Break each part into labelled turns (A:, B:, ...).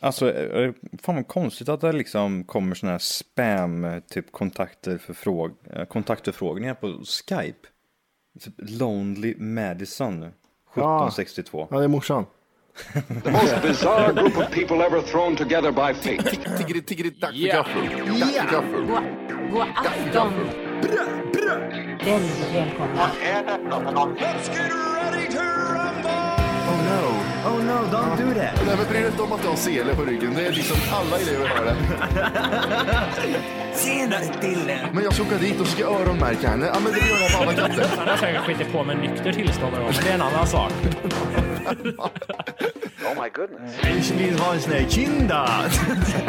A: Alltså, eh, fan vad konstigt att det liksom kommer sådana här spam, typ kontakter för frå- eh, kontaktförfrågningar på Skype. Typ Lonely Madison 1762.
B: Ja, det är
C: Oh,
B: morsan.
D: The most bizarre group of people ever thrown together by fate.
C: Tiggeri, tiggeri, dack för gaffel. Dack för gaffel.
E: God afton! Väldigt välkomna.
F: Oh,
C: Nej, men bry dig inte om att du har sele på ryggen. Det är liksom alla elever har det.
F: Tjenare Dille!
C: Men jag ska åka dit och ska öronmärka henne. Ja, men det gör jag på alla katter.
G: Han har säkert skitit på med nykter tillstånd då, men det är en annan sak.
F: Ich vill ha en sån här kinda!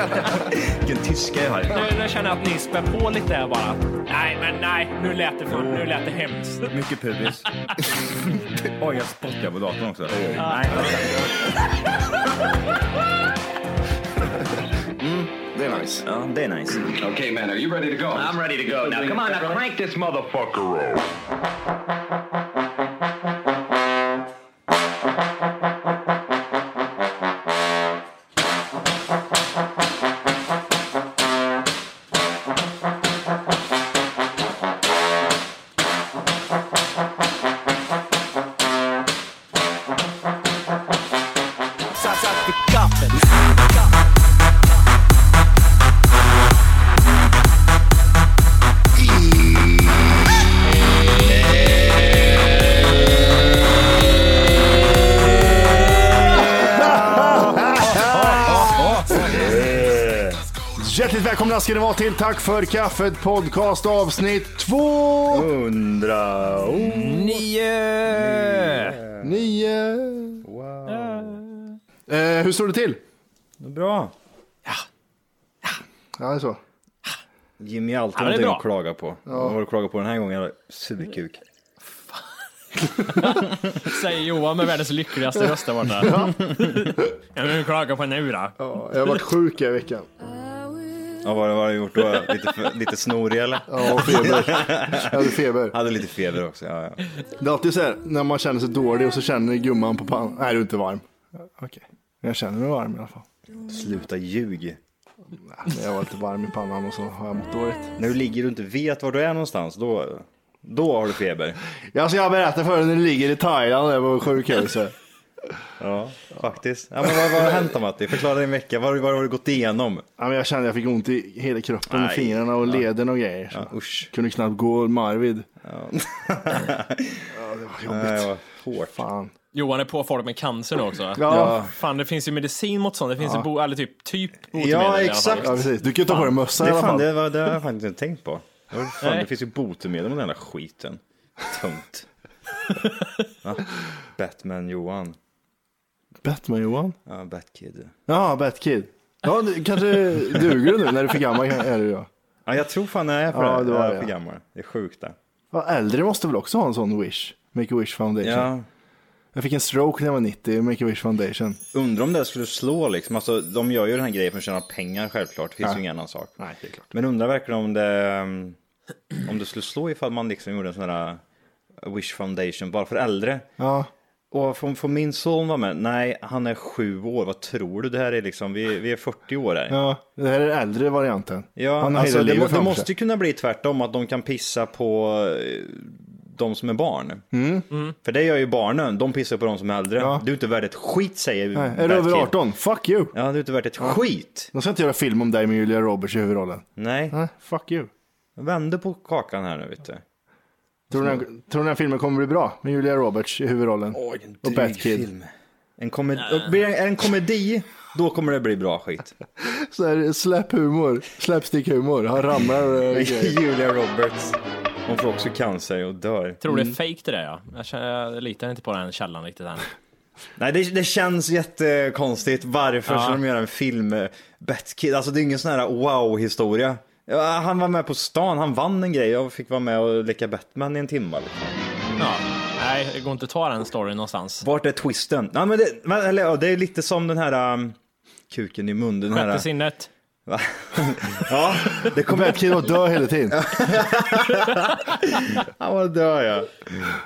F: Vilken tyska jag har.
G: Nu, nu känner jag att ni spär på lite här bara. Nej, men nej, nu lät det, för, nu lät det hemskt.
A: Mycket pubis. Oj, jag spottar på datorn också. Nej,
C: Det är nice.
F: Ja, det är nice.
D: Okay, man, are you ready to go?
F: I'm ready to go. Now come on, now crank this motherfucker up.
B: Hjärtligt välkomna ska ni vara till Tack för kaffet podcast avsnitt 2,
A: Hundra. Oh.
G: Nio!
B: 9. Eh, hur står det till?
A: Bra.
B: Ja, det är så.
A: Jimmy har alltid
G: Ja, det är
A: någonting
G: bra.
A: att klaga på. Vad har du klagat på den här gången? Sugkuk.
G: Säger Johan med världens lyckligaste röst där borta. Jag vill klaga på nu då.
B: Ja, jag har varit sjuk i veckan.
A: Ja, vad, vad har du gjort då? Lite, för- lite snorig eller?
B: Ja, och feber. Jag hade feber.
A: Hade lite feber också. Ja, ja.
B: Det är alltid så här när man känner sig dålig och så känner gumman på pannan. Nej, du är inte varm. Okej, jag känner mig varm i alla fall.
A: Sluta ljug.
B: Nej, Jag var lite varm i pannan och så har jag mått dåligt.
A: När du ligger och inte vet var du är någonstans, då, då har du feber.
B: Jag ska berätta för dig när du ligger i Thailand där på sjukhuset.
A: Ja, faktiskt. Ja, men vad, vad har hänt då Matti? Förklara din vecka. Vad, har du- vad har du gått igenom?
B: Ja, men jag kände jag fick ont i hela kroppen, med
A: Aj.
B: fingrarna och lederna och grejer. Så.
A: Ja, usch.
B: Kunde knappt gå Marvid.
A: Nej, vad hårt.
B: Fan.
G: Johan är på folk med cancer nu också.
B: Ja,
G: Fan, det finns ju medicin mot sånt. Det finns ju bo, eller typ, typ botemedel
A: Ja,
G: i alla fall.
A: exakt.
B: ja, precis. Du kan ju ta på dig mössa
A: Det,
B: i alla
A: är fan,
B: fall.
A: det, var, det har jag faktiskt inte tänkt på. Det, var, fan,
G: Nej.
A: det finns ju botemedel mot den här skiten. Tungt. Va? Batman-Johan.
B: Batman-Johan?
A: Ja, Batkid.
B: Ja, Batkid. Ja, du, kanske duger du nu när du är för gammal är du ja.
A: Ja, jag tror fan jag är för
B: Ja,
A: det.
B: det var
A: jag är
B: det.
A: för gammal. Det är sjukt det.
B: ja. Äldre måste väl också ha en sån wish? Make-A-Wish Foundation.
A: Ja,
B: Jag fick en stroke när jag var 90, Make-A-Wish Foundation.
A: undrar om det skulle slå liksom. Alltså, de gör ju den här grejen för att tjäna pengar självklart. Det finns
B: Ja.
A: ju ingen annan sak.
B: Nej, det är klart.
A: Men undrar verkligen om det, um, om det skulle slå ifall man liksom gjorde en sån här uh, Wish Foundation bara för äldre.
B: Ja,
A: Och får, får min son vara med? Nej, han är sju år. Vad tror du? Det här är liksom, vi, vi är 40 år här.
B: ja. Det här är den äldre varianten.
A: Ja,
B: Han har
A: alltså,
B: hela
A: det, må,
B: livet
A: det
B: framför
A: måste
B: sig.
A: ju kunna bli tvärtom, att de kan pissa på eh, de som är barn. För det gör ju barnen, de pissar på de som är äldre.
B: Mm. Ja.
A: Du är inte värd ett skit säger
B: Nej, är
A: Bad
B: du över
A: Kid.
B: 18? Fuck you!
A: Ja, du är inte värd ett skit.
B: De ska inte göra film om dig med Julia Roberts i huvudrollen.
A: Nej,
B: Nej, fuck you.
A: vänder på kakan här nu vet du.
B: Tror ni, den- tror ni den filmen kommer bli bra med Julia Roberts i huvudrollen? och Batkid.
A: En
G: Äh.
A: komedi, blir det en komedi, då kommer det bli bra skit.
B: Så här, släpphumor, släppstickhumor. Han ramlar och eh, grejer.
A: Julia Roberts. Hon får också cancer och dör.
G: Tror det är fake det där ja. Jag, känner, jag litar inte på den källan riktigt än.
A: Nej, det, det känns jättekonstigt. Varför
G: Ja.
A: ska de göra en film med Batkid? Alltså det är ingen sån här wow-historia. Ja, han var med på stan, han vann en grej och fick vara med och leka Batman i en timme. Liksom.
G: Ja. Nej, det går inte att ta den storyn någonstans.
A: Vart är twisten? Ja, men det, men, eller, ja, det är lite som den här um, kuken i mun. Den här,
G: Sjätte sinnet.
A: Ja, det kommer...
B: Batkin och dö hela tiden.
A: Han var dör jag.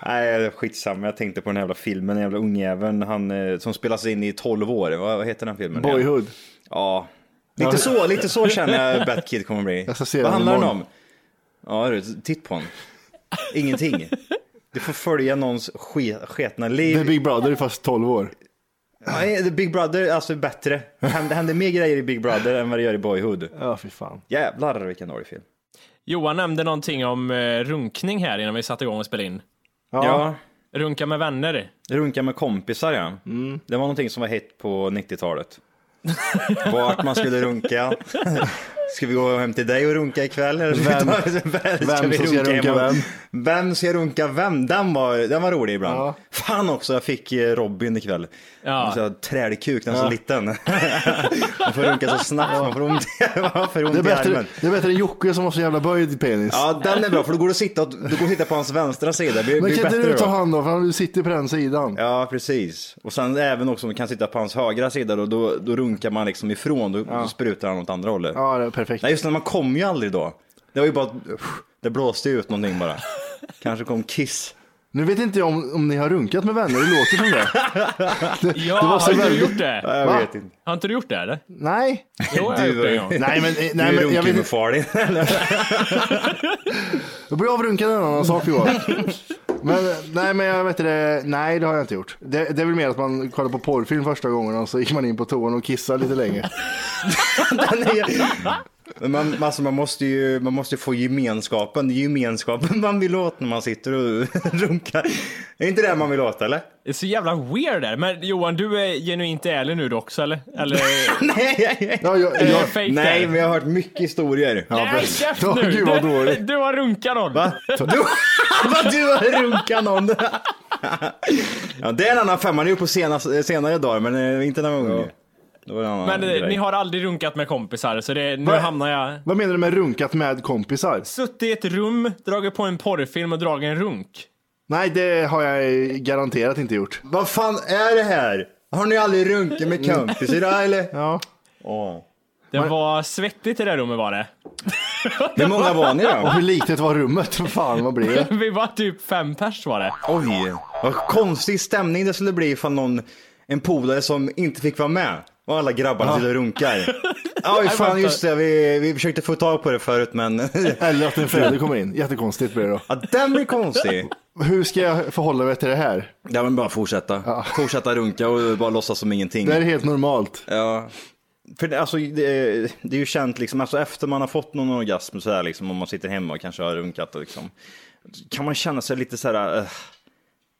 A: Nej, skitsamma. Jag tänkte på den här jävla filmen, den jävla ungjäveln han, eh, som spelas in i 12 år. Vad, vad heter den filmen? igen?
B: Boyhood.
A: Ja. Lite så, lite så känner jag Batkid kommer bli.
B: Jag ska se
A: Vad
B: den
A: handlar den om?
B: imorgon.
A: Ja du, titt på den. Ingenting. Du får följa någons ske, sketna liv.
B: Det är Big Brother fast 12 år.
A: Nej, The Big Brother, alltså bättre. Det händer det händer mer grejer i Big Brother än vad det gör i Boyhood.
B: Ja, fy fan.
A: Jävlar vilken dålig film.
G: Johan nämnde någonting om eh, runkning här innan vi satte igång och spelade in.
A: Ja.
G: Runka med vänner.
A: runka med kompisar ja.
B: Mm.
A: Det var någonting som var hett på 90-talet. Vart man skulle runka. Ska vi gå hem till dig och runka ikväll? Eller
B: Vem-
A: ska
B: vem
A: vi
B: som ska
A: runka
B: runka
A: hemma?
B: vem?
A: Vem ska runka vem? Den var, den var rolig ibland.
B: Ja.
A: Fan också, jag fick eh, Robin ikväll. Alltså,
G: Ja.
A: Ja. Trälkuk, den är så liten. man får runka så snabbt, man får ont, man får ont
B: Det är,
A: i
B: bättre,
A: armen.
B: det är bättre än Jocke som har så jävla böjd penis.
A: Ja, den är bra, för då går du att sitta, åt- du går att sitta på hans vänstra sida. Det blir,
B: Men
A: blir
B: kan inte
A: bättre
B: du ta
A: då.
B: hand om, för han sitter på den sidan.
A: Ja, precis. Och sen även också om man kan sitta på hans högra sida då, då, då runkar man liksom ifrån, då, då sprutar han åt andra hållet.
B: Ja, det är perfekt.
A: Nej, just det, man kom ju aldrig då. Det var ju bara, det blåste ju ut någonting bara. Kanske kom Kiss.
B: Nu vet inte jag om, om ni har runkat med vänner, det låter som det.
G: Ja,
B: var så
G: har inte
B: väldigt-
G: du gjort det?
A: Ja, Jag
B: Va?
A: vet inte.
G: Har inte du gjort det eller?
B: Nej.
G: Jo, jag har gjort det en gång.
B: Nej men, eh, nej,
A: du
B: men
A: runkar
B: jag
A: ju med
B: vet inte.
A: Farley.
B: Jag blir avrunkad en annan sak Johan. Men, eh, nej men jag vet det, nej det har jag inte gjort. Det, det är väl mer att man kollar på porrfilm första gången och så gick man in på toan och kissar lite länge.
A: Men man, men alltså, man, måste ju, man måste ju få gemenskapen. Det är gemenskapen man vill åt när man sitter och runkar. Är inte det man vill åt eller?
G: Det är så jävla weird där. Men Johan, du är genuint ärlig nu du också eller? Eller?
A: Nej,
B: Ja, jag,
G: Är
B: jag,
G: det fake
A: Nej
G: där?
A: men jag har hört mycket historier.
B: ja,
G: Nej,
B: precis.
G: käft
B: Ja,
G: nu!
B: Gud vad
G: du,
B: dåligt.
G: du har runkat någon.
A: Va? Du, vad du har runkat någon. ja, det är en annan femma. Ni gjort på senast, senare dagar, men eh, inte när man var unge. Det var en annan
G: Men eh,
A: grej.
G: ni har aldrig runkat med kompisar, så det, nu
B: Va?
G: hamnar jag...
B: Vad menar du med runkat med kompisar?
G: Suttit i ett rum, dragit på en porrfilm och dragit en runk.
B: Nej det har jag garanterat inte gjort. Mm.
A: Vad fan är det här? Har ni aldrig runkat med kompisar eller?
B: Ja.
A: Åh.
G: Det var svettigt i det rummet var det.
A: Hur många var ni då?
B: Hur litet var rummet? Vad Fan vad blir det?
G: Vi var typ fem pers var det.
A: Oj, vad konstig stämning det skulle bli ifall någon, en polare som inte fick vara med. Och alla grabbarna sitter och runkar. Oj, fan just det. Vi, vi försökte få tag på det förut, men
B: Eller att en förälder kommer in. Jättekonstigt blir det då.
A: ja, den blir konstig.
B: Hur ska jag förhålla mig till det här?
A: Ja, men bara fortsätta. Fortsätta runka och bara låtsas som ingenting.
B: Det här är helt normalt.
A: Ja. För det, alltså, det, det är ju känt liksom, alltså, efter man har fått någon orgasm så här liksom, om man sitter hemma och kanske har runkat liksom, kan man känna sig lite så här eh,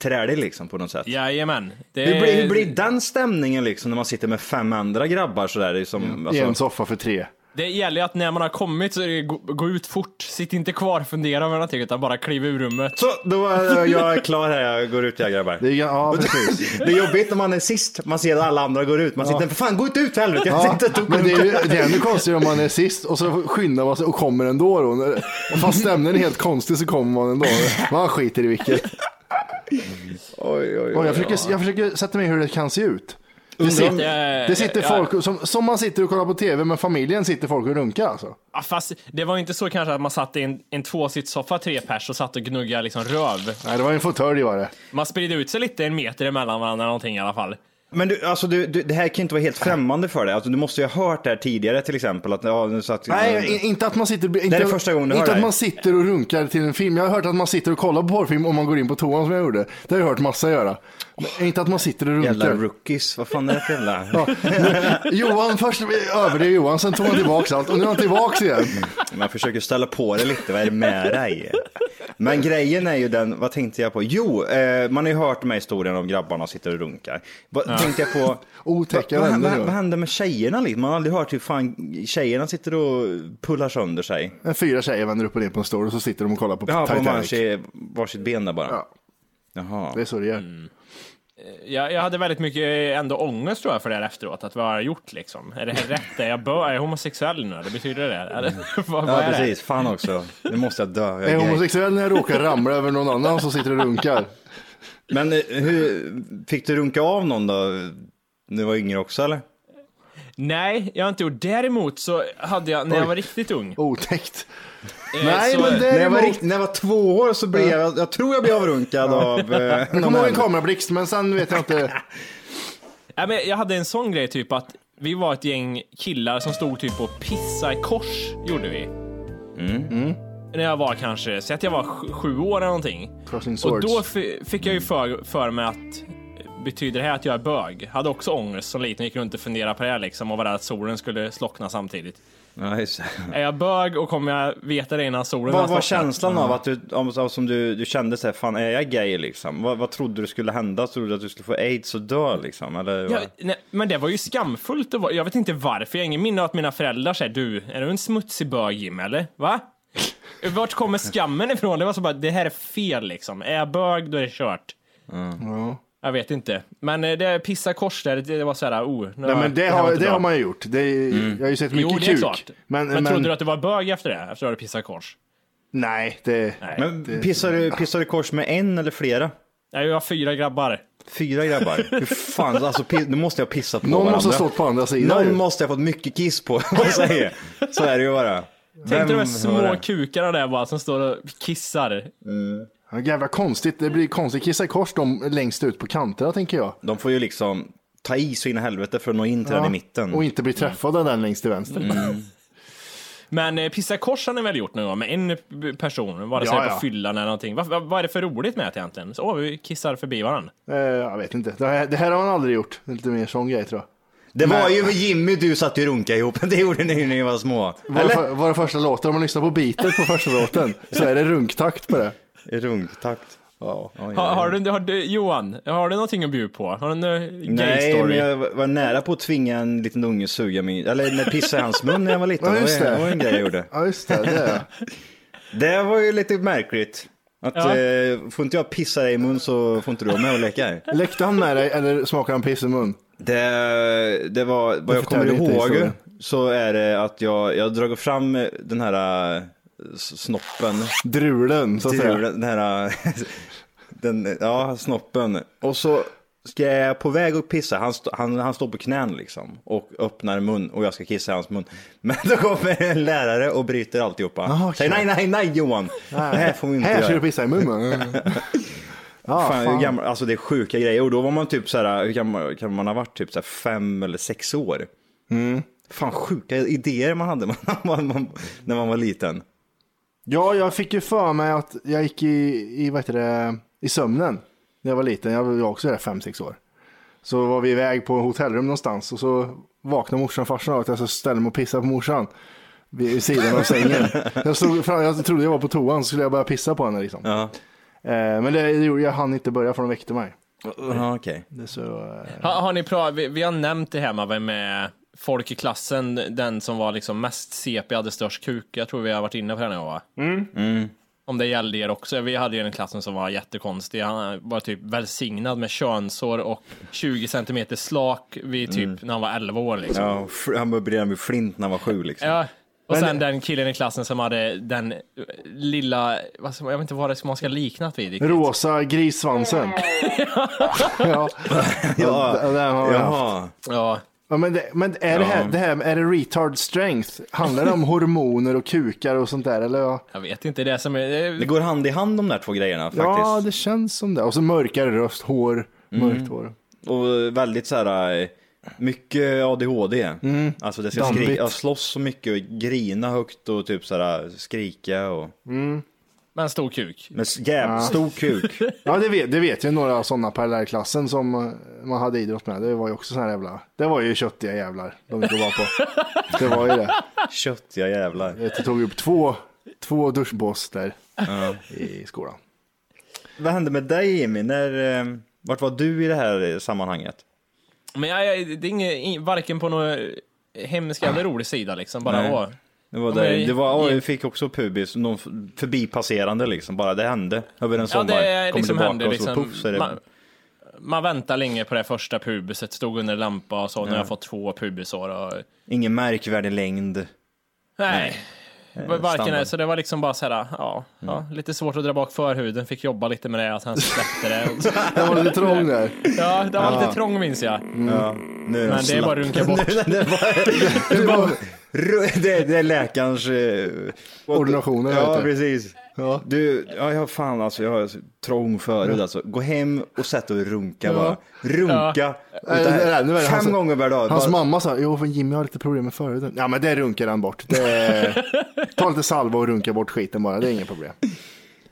A: trälig liksom på något sätt.
G: Jajamän. Det,
A: Hur blir, hur blir den stämningen liksom när man sitter med fem andra grabbar så där? Liksom,
B: I en
A: alltså,
B: soffa för tre.
G: det gäller ju att när man har kommit så är det gå, gå ut fort. Sitt inte kvar och fundera över någonting utan bara kliv ur rummet.
A: så, då är jag klar här, jag går ut jag grabbar.
B: Det är, ja, precis.
A: Det är jobbigt när man är sist, man ser att alla andra går ut. Man sitter, för fan gå inte ut för helvete, jag
B: Ja,
A: sitter och
B: men det är, ju,
A: runkar."
B: det är ännu konstigare om man är sist och så skyndar man sig och kommer ändå. Då. När- Fast stämningen är helt konstig så kommer man ändå. Man skiter i vilket.
A: Oj, oj,
B: Och
A: oj.
B: jag, försöker, jag försöker sätta mig hur det kan se ut. Det
G: om- Eh,
B: sitter, det sitter
G: Ja.
B: folk, som, som man sitter och kollar på tv, men familjen sitter folk och runkar alltså.
G: Ja, fast det var inte så kanske att man satt i en, en tvåsitssoffa tre pers och satt och gnuggade liksom röv.
B: Nej, det var en fåtölj var det.
G: Man spridde ut sig lite en meter emellan varandra någonting i alla fall.
A: Men du, alltså du, du, det här kan ju inte vara helt främmande för dig. Alltså, du måste ju ha hört det här tidigare till exempel. Att, ja, nu satt,
B: Nej, i- inte att man sitter, inte,
A: är första gången du hör
B: inte
A: det här.
B: att man sitter och runkar till en film. Jag har hört att man sitter och kollar på porrfilm om man går in på toan som jag gjorde. Det har jag hört massa göra. Men inte att man sitter och
A: Jävla
B: runkar.
A: rookies, vad fan är det för jävla...
B: Ja. Johan, först överdrev Johan, sen tog han tillbaks allt och nu är han tillbaks igen.
A: Man försöker ställa på det lite, vad är det med dig? Men grejen är ju den, vad tänkte jag på? Jo, eh, man har ju hört de här historierna om grabbarna sitter och runkar. Vad tänkte jag på?
B: Otäcka
A: vad,
B: vänner,
A: vad,
B: ja.
A: vad händer med tjejerna? Liksom? Man har aldrig hört hur fan tjejerna sitter och pullar sönder sig.
B: En fyra tjejer vänder upp och ner på en stol och så sitter de och kollar på
A: Ja, på
B: Titanic.
A: varsitt, varsitt ben där bara.
B: Ja.
A: Jaha.
B: Det är så det gör.
G: Jag, jag hade väldigt mycket eh, ändå ångest tror jag för det här efteråt, att vad har jag gjort liksom? Är det här rätt? Är jag, bör, är jag homosexuell nu? Det betyder det?
B: Mm.
G: Eller, vad, vad
A: Ja,
G: är det?
A: precis. Fan också. Nu måste jag dö. Jag
B: Är
A: är
B: jag
A: gay.
B: homosexuell när jag råkar ramla över någon annan som sitter och runkar?
A: Men eh, hur, fick du runka av någon då? Du var yngre också eller?
G: Nej, jag har inte gjort. Däremot så hade jag, när jag var riktigt ung.
B: Otäckt.
G: eh,
B: Nej,
G: så,
B: men det-
H: När jag, var
B: Däremot-
H: rikt, när jag var två år så blev jag, jag tror jag blev avrunkad av... Eh,
B: Jag kommer ihåg en
H: någon-
B: kamerablixt, men sen vet jag inte.
G: Nej, men jag hade en sån grej typ att vi var ett gäng killar som stod typ och pissade i kors, gjorde vi.
A: Mm.
G: När jag var kanske, säg att jag var sju, sju år eller någonting.
B: Crossing
G: Och
B: swords.
G: då fi- fick jag ju för, för mig att betyder det här att jag är bög? Hade också ångest som liten, gick runt och funderade på det här liksom och var rädd att solen skulle slockna samtidigt.
A: Ja, just det.
G: Är jag bög och kommer jag veta det innan solen
A: Vad
G: har
A: var
G: slocknat?
A: känslan av att du, om- av som du, du kände så här, fan är jag gay liksom? Vad, vad trodde du skulle hända? Trodde du att du skulle få aids och dö liksom? Eller,
G: Ja,
A: vad?
G: nej, men det var ju skamfullt. att vara- Jag vet inte varför. Jag har ingen minne av att mina föräldrar säger du, är du en smutsig bög Jim eller? Va? Vart kommer skammen ifrån? Det var så bara, det här är fel liksom. Är jag bög då är det kört.
B: Ja.
G: Jag vet inte. Men eh, det pissa kors där, det det var såhär, oh. nu
B: Nej,
G: har-
B: men det,
G: här var
B: har,
G: inte
B: det
G: bra.
B: har man ju gjort. Det, är- Jag har ju sett mycket
G: Jo, det är
B: kuk.
G: klart.
B: Men,
G: Men, trodde du att du var bög efter det? Efter att du hade pissat kors?
B: Nej, det...
A: Men pissar du, pissar du kors med en eller flera?
G: Nej, jag har fyra grabbar.
A: Fyra grabbar? Hur fan, alltså pi- nu måste jag pissa på
B: Någon
A: varandra.
B: måste ha stått på andra sidan.
A: Någon
B: ju.
A: måste ha fått mycket kiss på, vad säger jag? Så är det ju bara.
G: Tänk dig de
A: var
G: här små
A: det?
G: kukarna där bara som står och kissar.
B: Ja, Jävla konstigt. Det blir konstigt. Kissa i kors de längst ut på kanterna tänker jag.
A: De får ju liksom ta i så in i helvete för att nå in till den i mitten.
B: Och inte bli träffad av den längst till vänster.
G: Men eh, pissa kors har ni väl gjort nu va? med en b- person, vare sig
B: Ja,
G: på
B: ja.
G: fyllan eller någonting. Vad, vad, vad är det för roligt med det egentligen? Så, åh, vi kissar förbi varandra.
B: Eh, jag vet inte. Det här, det här har man aldrig gjort. Det är lite mer sån grej tror jag.
A: Det var ju Jimmy du satt ju och runka ihop, det gjorde ni ju när ni var små.
B: Våra, för, våra första låtar, om man lyssnar på beatet på första låten så är det runktakt på det.
A: Runktakt. Ja.
G: Har, har, du, har du, Johan, har du någonting att bjuda på? Har du en gay
A: Nej,
G: story?
A: men jag var var nära på att tvinga en liten unge att suga min, eller när pissa i hans mun när jag var liten.
B: Ja, just
A: det. var- det
B: det.
A: var en grej jag gjorde.
B: Ja just det, det är det.
A: Det var ju lite märkligt. Att
G: Ja.
A: eh, får inte jag pissa dig i mun så får inte du vara med och leka här.
B: Läckte han med dig eller smakade han piss i mun?
A: Det, det var, vad jag kommer
B: förtäljer inte
A: ihåg
B: historien.
A: så är det att jag, jag drog fram den här eh, s- snoppen.
B: Drulen så att
A: till
B: säga.
A: den här, den, ja, snoppen. Och så ska jag på väg att pissa, han, st- han, han står på knän liksom och öppnar mun och jag ska kissa i hans mun. Men då kommer en lärare och bryter alltihopa.
B: Aha,
A: Säger nej,
B: okej.
A: nej, nej Johan, det här får vi inte
B: Här ska
A: göra.
B: du pissa i munnen. Ja,
A: Fan,
B: fan.
A: Hur gammal, alltså det är sjuka grejer. Och då var man typ så här, hur gammal kan man ha varit? Typ så här fem eller sex år.
B: Mm.
A: Fan sjuka idéer man hade när man, man, när man var liten.
B: Ja, jag fick ju för mig att jag gick i, i, vad heter det, i sömnen när jag var liten. Jag var också där fem sex år. Så var vi iväg på hotellrum någonstans och så vaknade morsan och farsan av att jag så ställde mig och pissade på morsan vid sidan av sängen. Jag, stod fram, jag trodde jag var på toan så skulle jag börja pissa på henne liksom.
A: Ja,
B: Eh, men det gjorde jag, hann inte börja för de väckte mig.
A: ja okej.
B: Det är så, eh,
G: Har, har ni pra- vi, vi har nämnt det här med vem är folk i klassen, den som var liksom mest CP, hade störst kuk. Jag tror vi har varit inne på det här nu va?
A: Mm.
G: Om det gällde er också. Vi hade ju en i klassen som var jättekonstig. Han var typ välsignad med könsår och 20 centimeter slak vid typ när han var 11 år liksom.
A: Ja, fr- han började redan med flint när han var sju liksom.
G: Ja. Och sen den killen i klassen som hade den eh, lilla, vad som, jag vet inte vad det är man ska likna vid. riktigt.
B: rosa grissvansen. ja. Ja, det- det har jag haft.
A: Jaha.
G: Ja.
B: Ja, men det, men är, det här, det här, är det retard strength? Handlar det om hormoner och kukar och sånt där? Eller? Ja,
G: Jag vet inte, det är som är...
A: Det går hand i hand de där två grejerna faktiskt.
B: ja det känns som det. Och så mörkare röst, hår, mörkt hår.
A: Och väldigt så här, eh, mycket ADHD.
B: Mm.
A: Alltså det ska
B: Dampigt.
A: skrika, slåss så mycket och grina högt och typ så här, skrika och...
G: Men stor kuk.
A: Men s- jävligt stor kuk.
B: Ja, det vet, det vet ju några sådana parallellklassen som eh, man hade idrott med. Det var ju också sådana här jävla, det var ju köttiga jävlar de inte var på. Det var ju det.
A: Köttiga jävlar.
B: Det tog upp två, två duschbås där i skolan.
A: Vad hände med dig Jimmy? När, eh, vart var du i det här eh, sammanhanget?
G: Men jag, jag, det är inget, in, varken på någon hemsk eller rolig sida liksom. Bara,
A: Nej.
G: åh.
A: Det var,
G: Ja,
A: där,
G: men-
A: det var, åh, jag fick också pubis, någon f- förbipasserande liksom, bara det hände över en
G: Ja,
A: sommar.
G: det
A: Kommer
G: liksom
A: tillbaka
G: händer
A: och så
G: liksom.
A: puff, så är det...
G: Man, man väntar länge på det första pubiset, stod under lampa och så, nu har jag fått två pubisår och...
A: Ingen märkvärdig längd.
G: Nej. Varken är,
A: Eh, standard. Mm.
G: så det var liksom bara så här, ja, ja, lite svårt att dra bak förhuden, fick jobba lite med det och sen släppte det.
B: Den var lite trång där.
G: Ja, det var lite trång minns jag.
H: Ja, nu är
G: Mm. Men det är bara att runka bort.
H: det, var, det, var, det, det är läkarens... eh,
B: Ordinationer,
H: Ja,
B: vet du.
H: precis. Du, ja, jag har fan alltså, jag har trång förhud alltså. Gå hem och sätt dig och runka bara. Runka. Och
B: Nej,
H: det
B: Äh, det
H: här,
B: är ännu värre.
H: fem
B: Hans-
H: gånger per dag.
B: Hans
H: Bara-
B: mamma sa, jo för Jimmy har lite problem med förhuden. Ja men det runkar han bort. Det är... Ta lite salva och runka bort skiten bara, det är inget problem.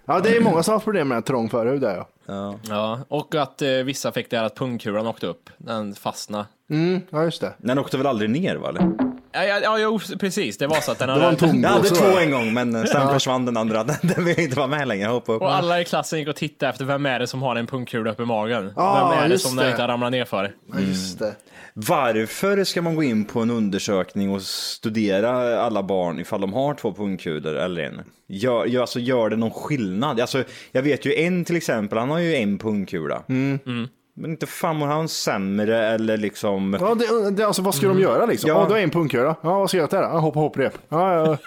B: Ja det är många som har haft problem med en trång förhud där ja.
G: Ja, och att eh, vissa fick det här att pungkulan åkte upp, den fastnade.
B: Mm, ja just det.
A: Den åkte väl aldrig ner va? Eller?
B: Mm,
G: Ja, ja, ja jo, precis, det var så att den
B: Det var en
G: hade...
B: tom
H: Jag hade
B: påse,
H: två
B: va?
H: en gång, men sen försvann den andra. Den, den vill inte vara med längre. Jag hoppade upp.
G: Och alla i klassen gick och tittade efter vem är det som har en pungkula uppe i magen?
B: Ah,
G: vem är det
B: just
G: som den
B: det.
G: inte har ramlat ner för?
B: Ja, just
H: Mm.
B: det.
A: Varför ska man gå in på en undersökning och studera alla barn ifall de har två pungkulor eller en? Gör, gör, alltså, gör det någon skillnad? Alltså, jag vet ju en till exempel, han har ju en pungkula.
B: Mm.
A: Men inte fan mår han sämre eller liksom...
B: Ja, det, det, alltså, vad ska
H: Mm.
B: de göra liksom? Ja,
A: Ja.
B: du har en punkhöra. Ja, vad ska jag göra där? Ja, hoppa hopprep. Ja,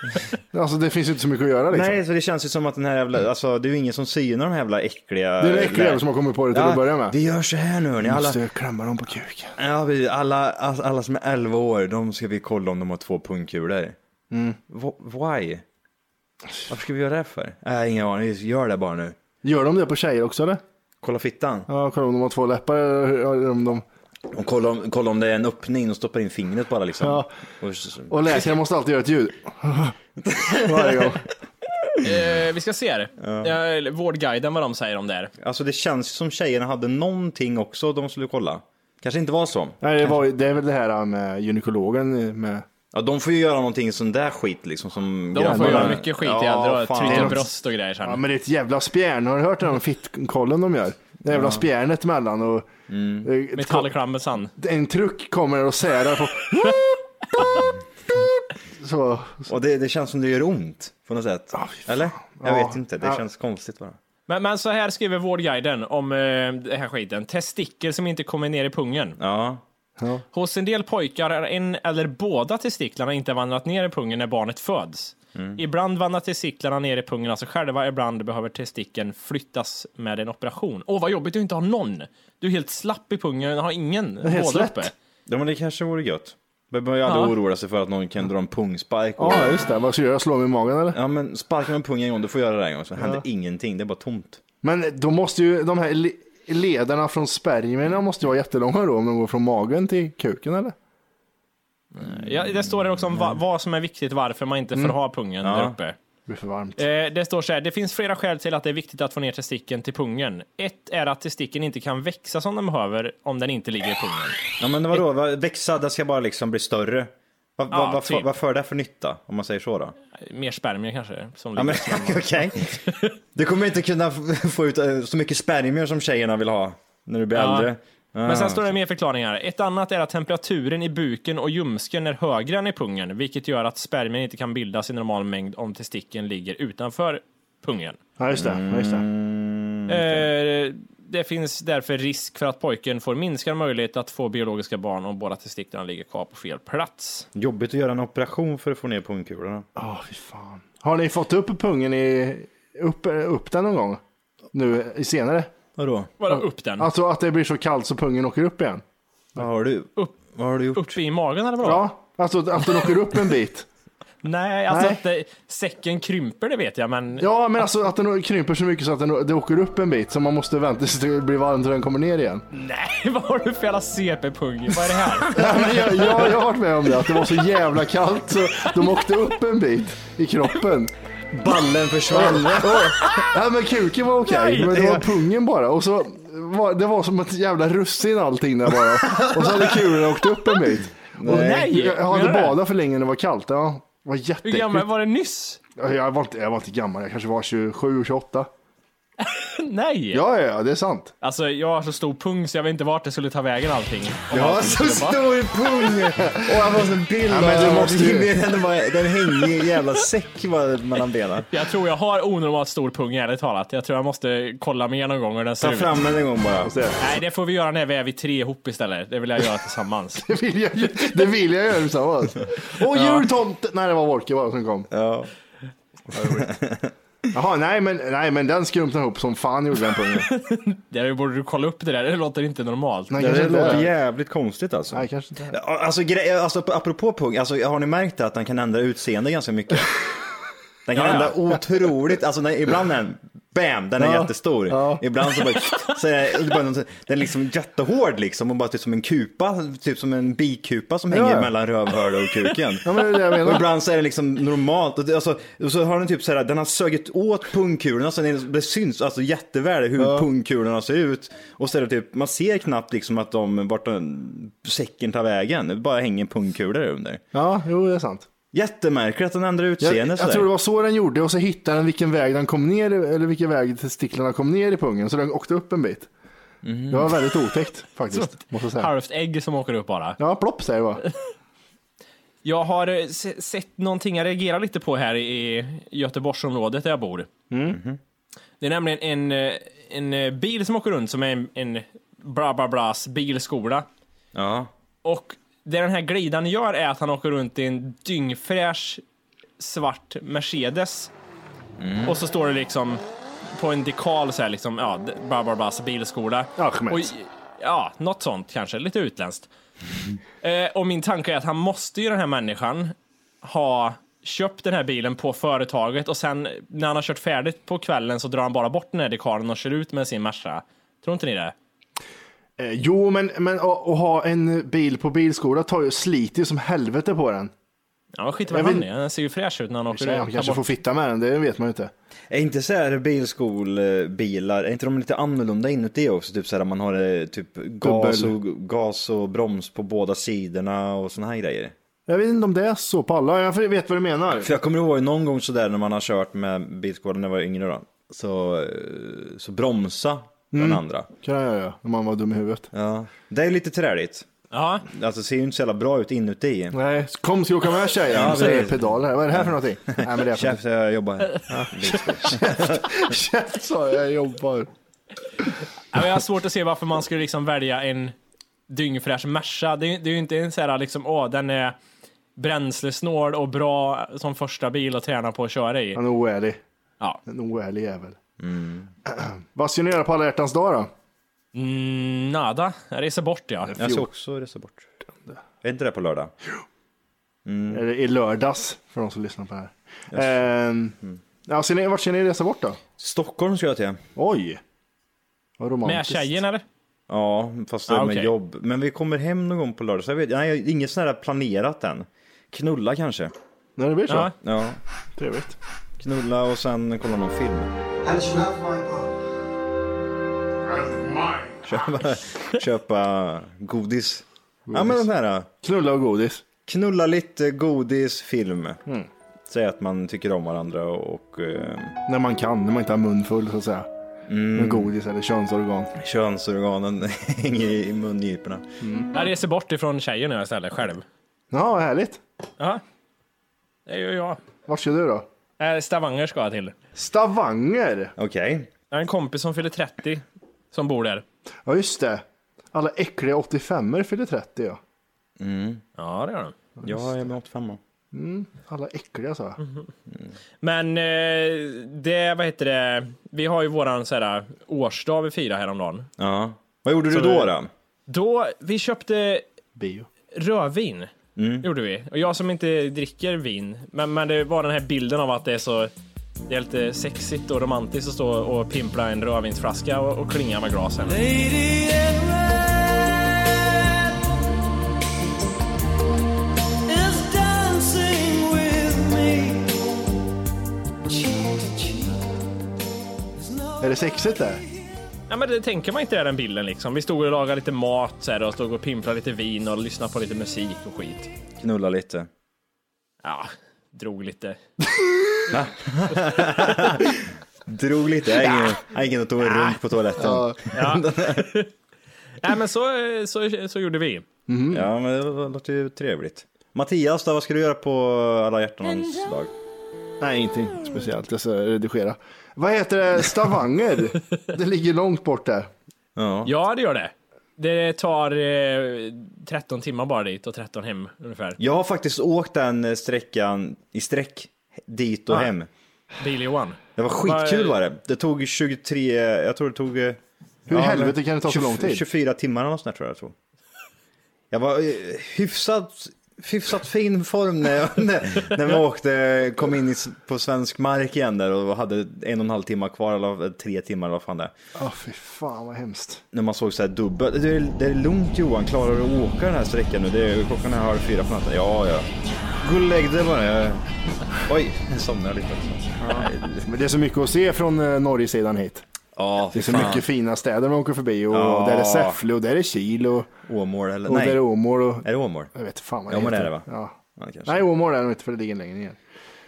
B: ja. Alltså det finns ju inte så mycket att göra liksom.
A: Nej, så det känns ju som att den här jävla, alltså det är ju ingen som synar de här jävla äckliga...
B: Det är en äcklig jävel som har kommit på det till att börja med.
A: Vi gör så här nu hörni, alla,
B: Måste jag klämma dem på kuken.
A: ja, vi, alla, alla, alla som är 11 år, de ska vi kolla om de har två pungkulor. Wh- Why? Varför ska vi göra det för? Äh, ingen aning, vi gör det bara nu.
B: Gör de det på tjejer också eller?
A: Kolla fittan.
B: Ja, kolla om de har två läppar eller om de...
A: Och kolla om, kolla om det är en öppning, de stoppar in fingret bara liksom.
B: Ja.
A: Och s-
B: Och läkaren måste alltid göra ett ljud. Varje gång. Mm.
G: Eh, vi ska se här. Eh, vårdguiden vad de säger om det här.
A: Alltså det känns ju som tjejerna hade någonting också de skulle kolla. Kanske inte var så.
B: Nej, det, var, det är väl det här äh, med gynekologen eh, med...
A: Ja, de får ju göra någonting sån där skit liksom som
G: De får
A: grabbarna-
G: göra mycket skit i äldre och
A: fan.
G: trycka bröst och grejer sen.
B: Ja, men det är ett jävla spjärn. Har du hört det om fittkollen de gör? Det jävla spjärnet mellan och... Eh,
G: Metallklammelsan.
B: En truck kommer och särar på... Så.
A: Och det, det känns som det gör ont på något sätt. Eller? Jag vet inte, det känns konstigt bara.
G: Men, men så här skriver Vårdguiden om eh, den här skiten. Testikel som inte kommer ner i pungen.
A: Ja.
G: Hos en del pojkar är en eller båda testiklarna inte vandrat ner i pungen när barnet föds. Ibland vandrar testiklarna ner i pungen av sig själva, ibland behöver testikeln flyttas med en operation. Åh, vad jobbigt att inte ha någon! Du är helt slapp i pungen, har ingen
B: helt
G: båda
B: slätt.
G: uppe.
A: ja, men det kanske vore gött. Man behöver ju aldrig
G: Ja.
A: oroa sig för att någon kan dra en pungspark. Och...
B: Ja, just det. Vad ska jag göra? Slå mig i magen eller?
A: Ja men sparkar man pungen en gång, du får göra det en gång, så händer ingenting, det är bara tomt.
B: Men då måste ju de här le- ledarna från spermierna måste ju vara jättelånga då om de går från magen till kuken eller?
G: Ja, det står här också om
A: Mm.
G: va, vad som är viktigt, varför man inte får ha pungen där uppe.
B: Det blir för varmt.
G: Eh, det står så här, det finns flera skäl till att det är viktigt att få ner testikeln till pungen. Ett är att testikeln inte kan växa som den behöver om den inte ligger i pungen.
A: Ja men vadå, va- växa, det ska bara liksom bli större. Vad va,
G: Ja,
A: va,
G: typ.
A: Vad för det för nytta, om man säger så då?
G: Mer spermier kanske. Som
A: Ja men
G: ligger.
A: okej. Du kommer inte kunna f- få ut eh, så mycket spermier som tjejerna vill ha när du blir
G: Ja.
A: äldre. Ah.
G: Men
B: Ah,
G: sen står det mer förklaringar. Ett annat är att temperaturen i buken och ljumsken är högre än i pungen, vilket gör att spermien inte kan bildas i normal mängd om testikeln ligger utanför pungen.
B: Ja, just det. Ja, just det. Mm,
G: Eh, det finns därför risk för att pojken får minskad möjlighet att få biologiska barn om båda testiklarna ligger kvar på fel plats.
A: Jobbigt att göra en operation för att få ner pungkulorna.
B: Åh, fy fan. Har ni fått upp pungen i, upp, upp den någon gång? Nu i senare?
A: Vadå?
G: Bara upp den?
B: Alltså att det blir så kallt så pungen åker upp igen?
A: Vad har du?
G: Upp,
A: Vad har du gjort?
G: upp i magen eller vadå?
B: Ja, alltså att den åker upp en bit.
G: Nej, alltså
B: Nej.
G: att det, säcken krymper det vet jag, men
B: Ja, men alltså att den krymper så mycket så att den det åker upp en bit så man måste vänta tills det blir varmt och den kommer ner igen.
G: nej, vad har du för jävla CP-pung? Vad är det här?
B: Ja, men jag, jag, jag har varit med om det, att det var så jävla kallt så de åkte upp en bit i kroppen.
H: Ballen försvann.
B: Ja, men kuken var okej,
G: Nej,
B: men det var pungen bara. Och så var, det var som ett jävla russin allting där bara. Och så hade kulorna åkt upp en bit. Och
G: Nej,
B: jag, jag hade
G: menar du?
B: badat för länge när det var kallt. Ja, det var
G: Hur
B: jätteäckligt.
G: gammal var det nyss?
B: Jag var, inte, jag var inte gammal, jag kanske var 27, 28.
G: Nej!
B: Ja, ja, ja, det är sant.
G: Alltså jag har så stor pung så jag vet inte vart det skulle ta vägen allting. Om
A: Jag har
G: man
A: så
G: skulle bara-
A: stor pung! Och jag får en bild
B: Ja, men du
A: av-
B: måste ju-
A: Den, var, den hänger i en jävla säck var- mellan benen.
G: Jag tror jag har onormalt stor pung ärligt talat. Jag tror jag måste kolla mer någon gång hur den ser
A: Ta
G: ut.
A: fram den en gång bara.
G: Nej, det får vi göra när vi är vi tre ihop istället. Det vill jag göra tillsammans.
B: Det vill jag, ju- det vill jag göra tillsammans. Och jultomten! Nej, det var Wolke bara som kom.
A: Ja.
B: Jaha, nej men, nej, men den skrumpnade ihop som fan gjorde den pungen.
G: Där borde du kolla upp det där, det låter inte normalt.
B: Nej,
I: Det,
B: kanske inte
I: låter
B: är.
I: jävligt konstigt alltså.
B: Nej, kanske inte. är.
A: Ja, Alltså, gre- alltså apropå pung, alltså, har ni märkt att den kan ändra utseende ganska mycket? Den kan
G: Ja, ja.
A: ändra otroligt, alltså den, ibland är den Bam, den är jättestor. Ibland så bara, så är det bara någon, sån- den är liksom jättehård liksom och bara typ som en kupa, typ som en bikupa som hänger
B: Ja.
A: mellan rövhålet och kuken.
B: Ja, men det är det jag
A: Och
B: menar.
A: ibland så är det liksom normalt. Och, det, alltså, och så har den typ så här, den har sögit åt pungkulorna så det, det syns alltså jätteväl hur pungkulorna ser ut. Och så är det typ, man ser knappt liksom att de, vart den, säcken tar vägen. Det bara hänger pungkulor under.
B: Ja, jo, det är sant.
A: Jättemärkligt att den ändrar
B: Jag,
A: utseende
B: jag
A: sådär.
B: tror det var så den gjorde och så hittade den vilken väg den kom ner i- eller vilken väg testiklarna kom ner i pungen så den åkte upp en bit. Det var väldigt otäckt faktiskt, måste jag säga.
G: Halvt ägg som åker upp bara.
B: Ja, plopp säger jag bara.
G: Jag har eh, se- sett någonting jag reagerar lite på här i Göteborgsområdet där jag bor. Det är nämligen en, eh, en eh, bil som åker runt som är en, en bla bla blas bilskola.
I: Ja.
G: Och det den här glidan gör är att han åker runt i en dyngfräsch svart Mercedes.
B: Mm.
G: Och så står det liksom på en dekal så här liksom, ja, d- bla bla bla, så bilskola.
B: Ahmed.
G: Och, ja, något sånt kanske, lite utländskt. eh, och min tanke är att han måste ju den här människan ha köpt den här bilen på företaget och sen när han har kört färdigt på kvällen så drar han bara bort den här dekalen och kör ut med sin Merca. Tror inte ni det?
B: Eh, Jo, men, men att, att ha en bil på bilskola tar ju slit ju som helvete på den.
G: Ja, men skit i vad
B: Jag
G: han
B: vill-
G: är. Den ser ju fräsch ut när han åker
B: Så
G: ut.
B: jag
G: Ta
B: kanske
G: bort-
B: får fitta med den, det vet man ju inte.
A: Är inte så här bilskolbilar, är inte de lite annorlunda inuti också? Typ så här man har eh, typ gas
B: Dubbel.
A: och, gas och broms på båda sidorna och såna här grejer.
B: Jag vet inte om det är så på alla, jag vet vad du menar.
A: För jag kommer ihåg någon gång sådär när man har kört med bilskolan när jag var yngre då. Så, eh, så bromsa
G: Mm.
A: den andra.
B: kan jag göra, om man var dum i huvudet.
A: Ja. Det är lite träligt.
G: Ja,
A: Alltså det ser ju inte så jävla bra ut inuti.
B: Nej, kom ska jag åka med tjejen?
A: Ja,
B: så är det
A: precis.
B: pedal här. Vad är det här för någonting? Nej, men det är
A: Chef, jag jobbar här. Bilskola.
B: Käft sa jag, jag jobbar.
G: Ja, men Jag har svårt att se varför man skulle liksom välja en dyngfräsch Merca. Det, är- det är ju inte en sån här liksom, åh, den är bränslesnål och bra som första bil att träna på att köra i.
B: Han är oärlig.
G: Ja.
B: En oärlig jävel.
A: Mm.
B: Vad ska ni göra på alla hjärtans dag då?
G: Mm, nada, jag reser bort ja.
A: Jag ska också resa bort. Är inte det på lördag? Mm.
B: Eller i lördags, för de som lyssnar på det här. Ehm,
A: Mm.
B: ja, ska ni, vart ska ni resa bort då?
A: Stockholm ska jag till.
B: Oj! Vad
G: Med
B: romantiskt.
G: tjejen eller?
A: Ja, fast det är
G: Ah,
A: med
G: okej.
A: jobb. Men vi kommer hem någon gång på lördag. Så jag vet, nej, inget sånt här planerat än. Knulla kanske.
B: När det blir så?
G: Ja.
A: Ja,
B: Trevligt.
A: knulla och sen kolla någon film. Köpa, köpa godis. Ja, men den här.
B: Knulla och godis.
A: Knulla lite, godis, film. Hmm. Säg att man tycker om varandra och, och eh,
B: När man kan, när man inte har mun full så att säga.
A: Mm.
B: Med godis eller könsorgan.
A: könsorganen hänger i i mungiporna.
G: Jag reser bort ifrån tjejen nu istället, själv.
B: Ja, vad härligt.
G: Ja. Det gör jag.
B: Vart ska du då?
G: Eh, Stavanger ska jag till.
B: Stavanger!
A: Okej.
G: Jag har en kompis som fyller 30 som bor där.
B: Ja, just det. Alla äckliga 85 er fyller 30 ja.
G: Ja, det gör han.
A: Jag är med 85
B: Alla äckliga sa jag.
G: Men eh, det, vad heter det, vi har ju våran så här, årsdag vi firar häromdagen.
A: Ja. Vad gjorde du då? då?
G: Då, vi köpte
B: Bio.
G: rödvin. Gjorde vi. Och jag som inte dricker vin. Men, men det var den här bilden av att det är så... Det är lite sexigt och romantiskt att stå och pimpla en rödvinsflaska och, och klinga med glasen.
F: Mm.
B: Är det sexigt där?
G: Ja, men det tänker man inte är den bilden liksom. Vi stod och lagade lite mat så här, och stod och pimplade lite vin och lyssnade på lite musik och skit.
A: Knulla lite.
G: Ja, drog lite.
A: Drog lite. Jag gick in- Jag gick in och tog en runk på toaletten. Ja,
G: Nej, men så, eh, så, så gjorde vi.
A: men det var- låter ju trevligt. Mattias då, vad ska du göra på alla hjärtanans dag?
B: Nej, ingenting speciellt. Jag ska redigera. Vad heter det? Stavanger? det ligger långt bort där.
A: Ja.
G: Ja, det gör det. Det tar eh, 13 timmar bara dit och 13 hem ungefär.
A: Jag har faktiskt åkt den eh, sträckan i sträck dit och
G: Ah.
A: hem.
G: Bil-Johan.
A: Det var skitkul var det. Det tog 23, jag tror det tog... eh,
B: Hur i
A: ja,
B: helvete
A: men
B: kan det ta så lång
A: 24
B: tid?
A: 24 timmar eller något sånt där, tror jag, jag tror. Jag var eh, hyfsat, hyfsat fin form när, jag, när, när vi åkte, kom in i, s- på svensk mark igen där och hade en och en halv timme kvar eller eh, tre timmar eller vad fan det är.
B: Åh, fy fan vad hemskt.
A: När man såg så här dubbel. Det är, det är lugnt Johan, klarar du att åka den här sträckan nu? Det är, klockan är halv fyra på natten. Ja, ja. Gå och lägg dig bara. Jag... Oj, jag somnade lite också.
B: Men det är så mycket att se från eh, norrsidan hit.
A: Ja,
B: Det är så mycket fina städer man åker förbi och
A: Ja.
B: där är Säffle och där är Kil och,
A: Åmål eller?
B: och
A: Nej,
B: där är Åmål och...
A: är det Åmål?
B: Jag vet fan vad
A: Ja,
B: det
A: men det
B: heter.
A: är det, va?
B: Ja.
A: Ja, det kanske.
B: Nej, Åmål är det nog inte för det ligger längre ner.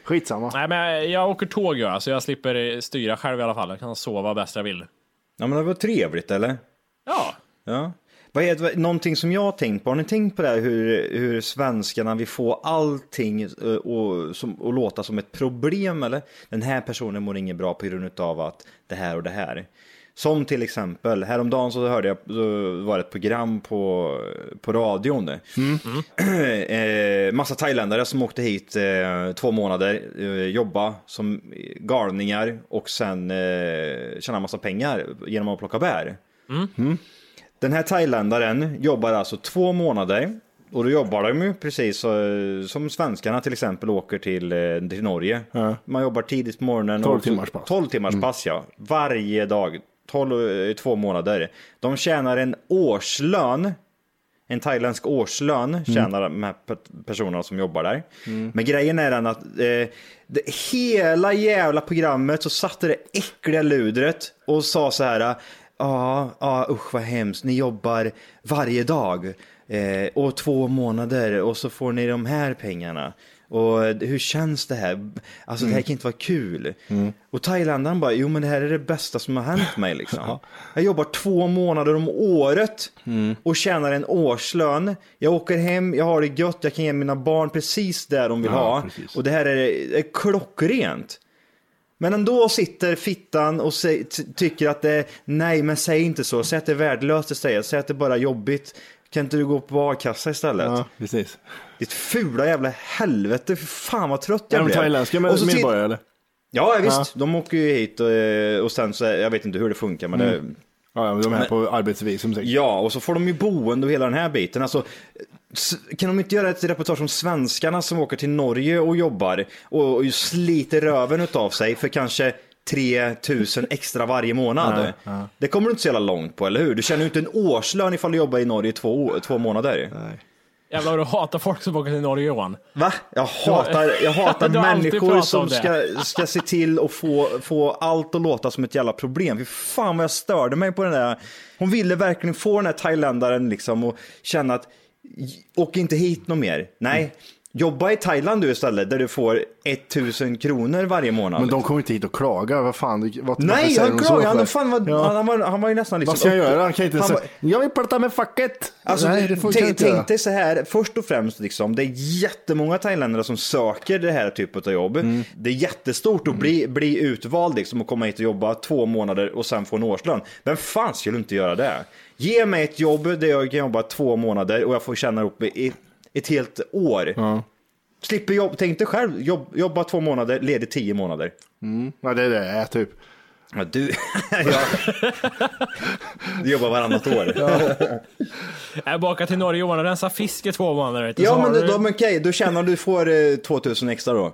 B: Skitsamma.
G: Nej, men jag åker tåg jag, så jag slipper eh, styra själv i alla fall. Jag kan sova bäst jag vill.
A: Ja men det var trevligt eller?
G: Ja,
A: Ja. Vad är det, någonting som jag har tänkt på, har ni tänkt på det här hur, hur svenskarna vill få allting eh, och, som, och låta som ett problem eller? Den här personen mår inget bra på grund av att det här och det här. Som till exempel, häromdagen så hörde jag, så var det ett program på, på radion. eh, massa thailändare som åkte hit eh, två månader, eh, jobba som galningar och sen eh, tjäna massa pengar genom att plocka bär. Den här thailändaren jobbar alltså två månader och då jobbar de ju precis eh, som svenskarna till exempel åker till, eh, till Norge. Man jobbar tidigt på morgonen. och-
B: 12 timmars pass. Mm.
A: 12 timmars pass ja. Varje dag. 12, eh, två månader. De tjänar en årslön. En thailändsk årslön tjänar de här pe- personerna som jobbar där. Men grejen är den att eh, det, hela jävla programmet så satte det äckliga ludret och sa så här. Ja, ja, usch vad hemskt. Ni jobbar varje dag eh, och två månader och så får ni de här pengarna. Och eh, hur känns det här? Alltså det här kan inte vara kul. Och thailändaren bara, jo men det här är det bästa som har hänt mig liksom. Jag jobbar två månader om året och tjänar en årslön. Jag åker hem, jag har det gött, jag kan ge mina barn precis det de vill ha. Och det här är, det är klockrent. Men ändå sitter fittan och sä- ty- tycker att det är, nej men säg inte så, säg att det är värdelöst istället, säg att det är bara jobbigt. Kan inte du gå på a-kassa istället?
B: precis.
A: Ditt fula jävla helvete, för fan vad trött jag
B: Är de
A: blev.
B: thailändska med,
A: Och så till-
B: medborgare eller?
A: Ja visst, de åker ju hit och, och sen så, jag vet inte hur det funkar men
B: Mm.
A: det,
B: Ja, ja, de är
A: Men-
B: på arbetsvisum säkert.
A: ja och så får de ju boende och hela den här biten. Alltså, s- kan de inte göra ett reportage om svenskarna som åker till Norge och jobbar och, och sliter röven av sig för kanske 3000 extra varje månad. Det kommer du inte så jävla långt på, eller hur? Du tjänar ju inte en årslön ifall du jobbar i Norge i två, år- två månader.
G: jävlar vad du hatar folk som åker till Norge Johan.
A: Va? Jag hatar, jag hatar
G: Du har alltid
A: människor
G: pratat
A: som
G: om
A: ska, ska se till att få, få allt att låta som ett jävla problem. Fy fan vad jag störde mig på den där. Hon ville verkligen få den här thailändaren liksom och känna att åk inte hit något mer. Nej,
G: Mm.
A: jobba i Thailand du istället där du får 1000 kronor varje månad.
B: Men de kommer inte hit och klagar. Vad fan, det- vad, varför
A: Nej,
B: säger
A: han
B: de så
A: klagade.
B: för?
A: Han, fan var,
B: Ja.
A: han, var, han var ju nästan liksom...
B: Vad ska jag
A: upp-
B: göra? Han kan inte
A: han
B: säga,
A: var-
B: jag vill prata med facket.
A: Alltså,
B: Nej, det funkar
A: tänk,
B: inte.
A: tänk dig så här, först och främst, liksom, det är jättemånga thailändare som söker det här typet av jobb.
B: Mm.
A: Det är jättestort att bli, bli utvald liksom, och komma hit och jobba två månader och sen få en årslön. Vem fan skulle inte göra det? Ge mig ett jobb där jag kan jobba två månader och jag får tjäna upp i, ett helt år. Slipper jobb, tänk dig själv, jobb, jobba två månader, ledig tio månader.
B: Ja, det är det är typ.
A: Ja, du, ja. du jobbar varannat år.
G: Jag bara åker till Norge Johan och rensa fisk i två månader. vet du, så
A: Ja
G: har
A: men
G: du-
A: då, då, men okej, då tjänar du, får eh, 2000 extra då.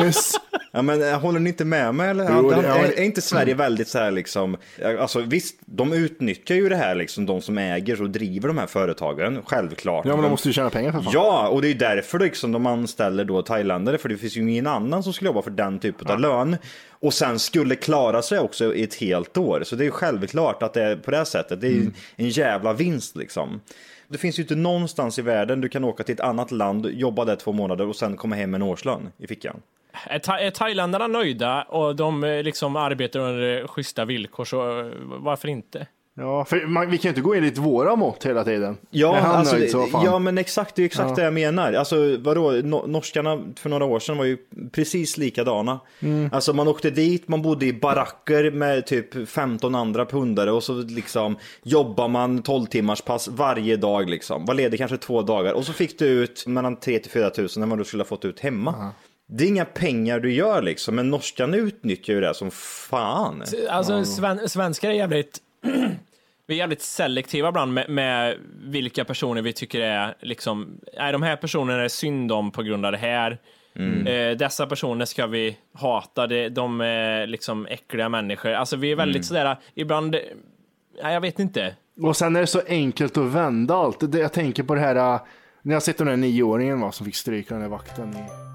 B: Yes.
A: Ja men eh, håller ni inte med mig eller?
B: Jo, det-
A: är,
B: ja.
A: är inte Sverige väldigt så här liksom, eh, alltså visst, de utnyttjar ju det här liksom, de som äger och driver de här företagen, självklart.
B: Ja, men de måste ju tjäna pengar för fan.
A: Ja, och det är ju därför liksom de anställer då thailändare, för det finns ju ingen annan som skulle jobba för den typen av lön. Och sen skulle klara sig också i ett helt år. Så det är ju självklart att det är på det här sättet. Det är ju
B: Mm.
A: en jävla vinst liksom. Det finns ju inte någonstans i världen du kan åka till ett annat land, jobba där två månader och sen komma hem med en årslön i fickan.
G: Är, tha- är thailändarna nöjda och de eh, liksom arbetar under eh, schyssta villkor så eh, varför inte?
B: Ja, för man, vi kan ju inte gå in i ett våra mått hela tiden.
A: Ja,
B: är han
A: alltså,
B: nöjd så fan.
A: ja men exakt, det är exakt det jag menar. Alltså vadå, no- norskarna för några år sedan var ju precis likadana.
B: Mm.
A: Alltså man åkte dit, man bodde i baracker med typ 15 andra pundare och så liksom jobbar man 12 timmars pass varje dag liksom. Var ledig kanske två dagar och så fick du ut mellan 3 till 4 tusen än vad du skulle ha fått ut hemma. Det är inga pengar du gör liksom, men norskarna utnyttjar ju det här som fan.
G: Alltså sven, svenskar är jävligt Vi är jävligt selektiva ibland med, med vilka personer vi tycker är liksom, nej de här personerna är synd om på grund av det här.
J: Mm.
G: Eh, dessa personer ska vi hata, de, de är liksom äckliga människor. Alltså vi är väldigt
J: Mm.
G: sådär, ibland, nej jag vet inte.
B: Och sen är det så enkelt att vända allt. Det, jag tänker på det här äh, när jag sett den där nioåringen va, som fick stryka den där vakten. i-